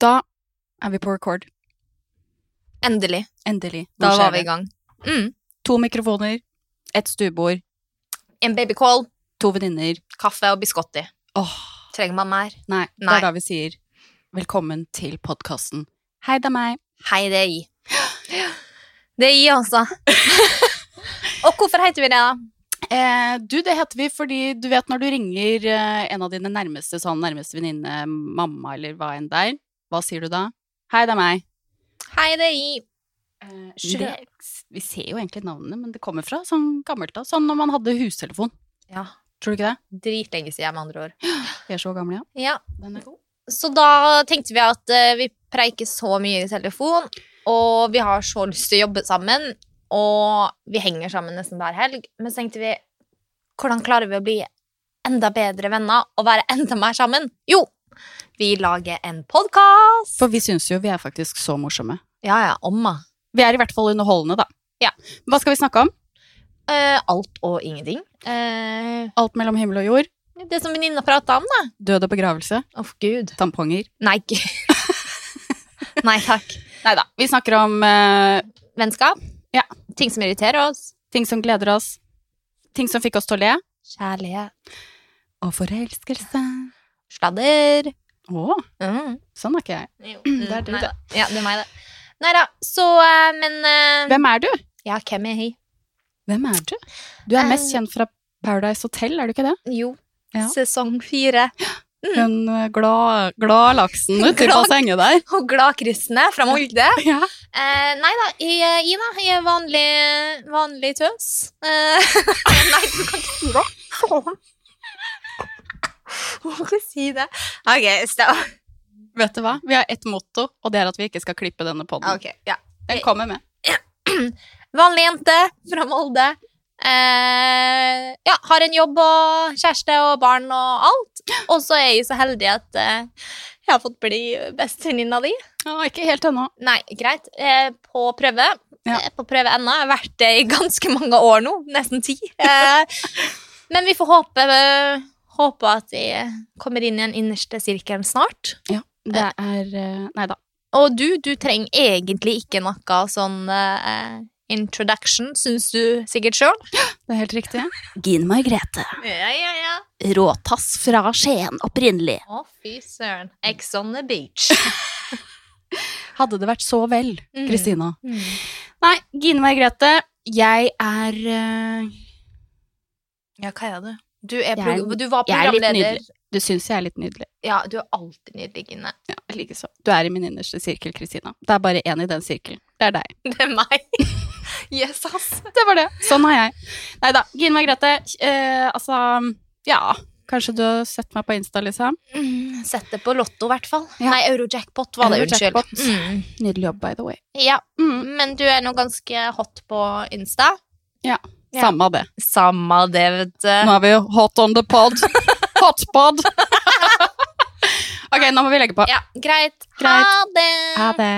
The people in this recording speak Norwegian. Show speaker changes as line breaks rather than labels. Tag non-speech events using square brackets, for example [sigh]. Da er vi på record.
Endelig.
Endelig. Nå
Da
skjer
var vi
det.
i gang. Mm.
To mikrofoner, et stuebord,
En babycall,
to venninner.
kaffe og biscotti.
Åh,
Trenger man mer?
nei, Det
Nei.
er da vi sier velkommen til podkasten. Hei, det er meg.
Hei, det er i. Det er i,
[laughs]
altså. og hvorfor heter vi det, da?
Eh, du, det heter vi fordi du vet når du ringer eh, en av dine nærmeste sånn nærmeste venninne, mamma eller hva enn det er, hva sier du da? Hei, det er meg.
Hei, det er i. Eh,
Det, vi ser jo egentlig navnene, men det kommer fra sånn gammelt da. Sånn når man hadde hustelefon.
Ja.
Tror du ikke det?
Dritlenge siden, med andre ord.
Vi er så gamle, ja.
Ja.
Den er god.
Så da tenkte vi at eh, vi preiker så mye i telefon, og vi har så lyst til å jobbe sammen, og vi henger sammen nesten hver helg. Men så tenkte vi, hvordan klarer vi å bli enda bedre venner og være enda mer sammen? Jo, vi lager en podkast!
For vi syns jo vi er faktisk så morsomme.
Ja, ja, omma.
Vi er i hvert fall underholdende, da.
Ja.
Hva skal vi snakke om?
Eh, alt og ingenting. Eh,
Alt mellom himmel og jord.
det som venninna prata om, da.
Død og begravelse.
Å, gud.
Tamponger.
Nei, gud. [laughs] Nei takk.
Nei da. Vi snakker om eh,
Vennskap.
Ja.
Ting som irriterer oss.
ting som gleder oss, ting som fikk oss til å le.
Kjærlighet.
Og forelskelse.
Sladder.
Å,
Mm.
sånn er ikke jeg.
Jo,
[clears throat]
Mm,
Det er du,
nei
det.
da. Ja, det er meg, det. Nei da, så eh, Men eh,
Hvem er du?
Ja, hvem er jeg?
Hvem er du? Du er mest
Eh.
kjent fra Paradise Hotel, er du ikke det?
Jo,
Ja.
sesong fire. [laughs]
Den eh, glad, glad laksen ute i
Glad-
bassenget der.
Og gladkristne fra Molde.
Ja.
Eh, nei da, jeg, eh, jeg, da, jeg er vanlig, vanlig tøs. Eh, [laughs] nei, du kan ikke si det. Faen. [laughs] Du må ikke si det. Ok, stopp.
Vet du hva? Vi har ett motto, og det er at vi ikke skal klippe denne podden.
Ok, ja.
Den kommer med.
Vanlig jente fra Molde. Eh, ja, har en jobb og kjæreste og barn og alt. Og så er jeg så heldig at eh, jeg har fått bli bestevenninna di.
Å, ikke helt ennå.
Nei, greit. Eh, på prøve.
Ja.
Eh, på prøve ennå. Jeg har vært det i ganske mange år nå. Nesten ti. Eh, men vi får håpe, eh, håpe at jeg kommer inn i den innerste sirkelen snart.
Det er eh, Nei da.
Og du, du trenger egentlig ikke noe sånn eh, introduction, syns du sikkert sjøl.
Det er helt riktig. Gine Margrethe.
Ja, ja, ja.
Råtass fra Skien opprinnelig.
Å, fy søren. Ex on the beach.
Hadde det vært så vel,
Mm.
Kristina.
Mm.
Nei, Gine Margrethe, jeg er eh,
Ja, hva er du? Du,
Jeg
er
er-
prog- du var
jeg er litt
programleder.
nydelig. Du syns jeg er litt nydelig.
Ja, du er alltid nydelig, Gine.
Ja, likeså. Du er i min innerste sirkel, Kristina. Det er bare én i den sirkelen. Det er deg.
Det er meg. [laughs] Yes, ass.
[laughs] Det var det. Sånn er jeg. Nei da. Gine Margrethe, eh, altså Ja, kanskje du har sett meg på Insta, liksom?
Mm, Sett det på Lotto, i hvert fall.
Ja.
Nei, Eurojackpot var det, unnskyld.
Eurojackpot.
Mm.
Nydelig jobb, by the way.
Ja,
Mm.
men du er nå ganske hot på Insta. Ja.
Samme av det.
Samme det, vet du.
Nå er vi jo hot on the [laughs] pod. Hot pod! [laughs] ok, nå må vi legge på.
Ja, greit.
Greit.
Ha det.
Ha det.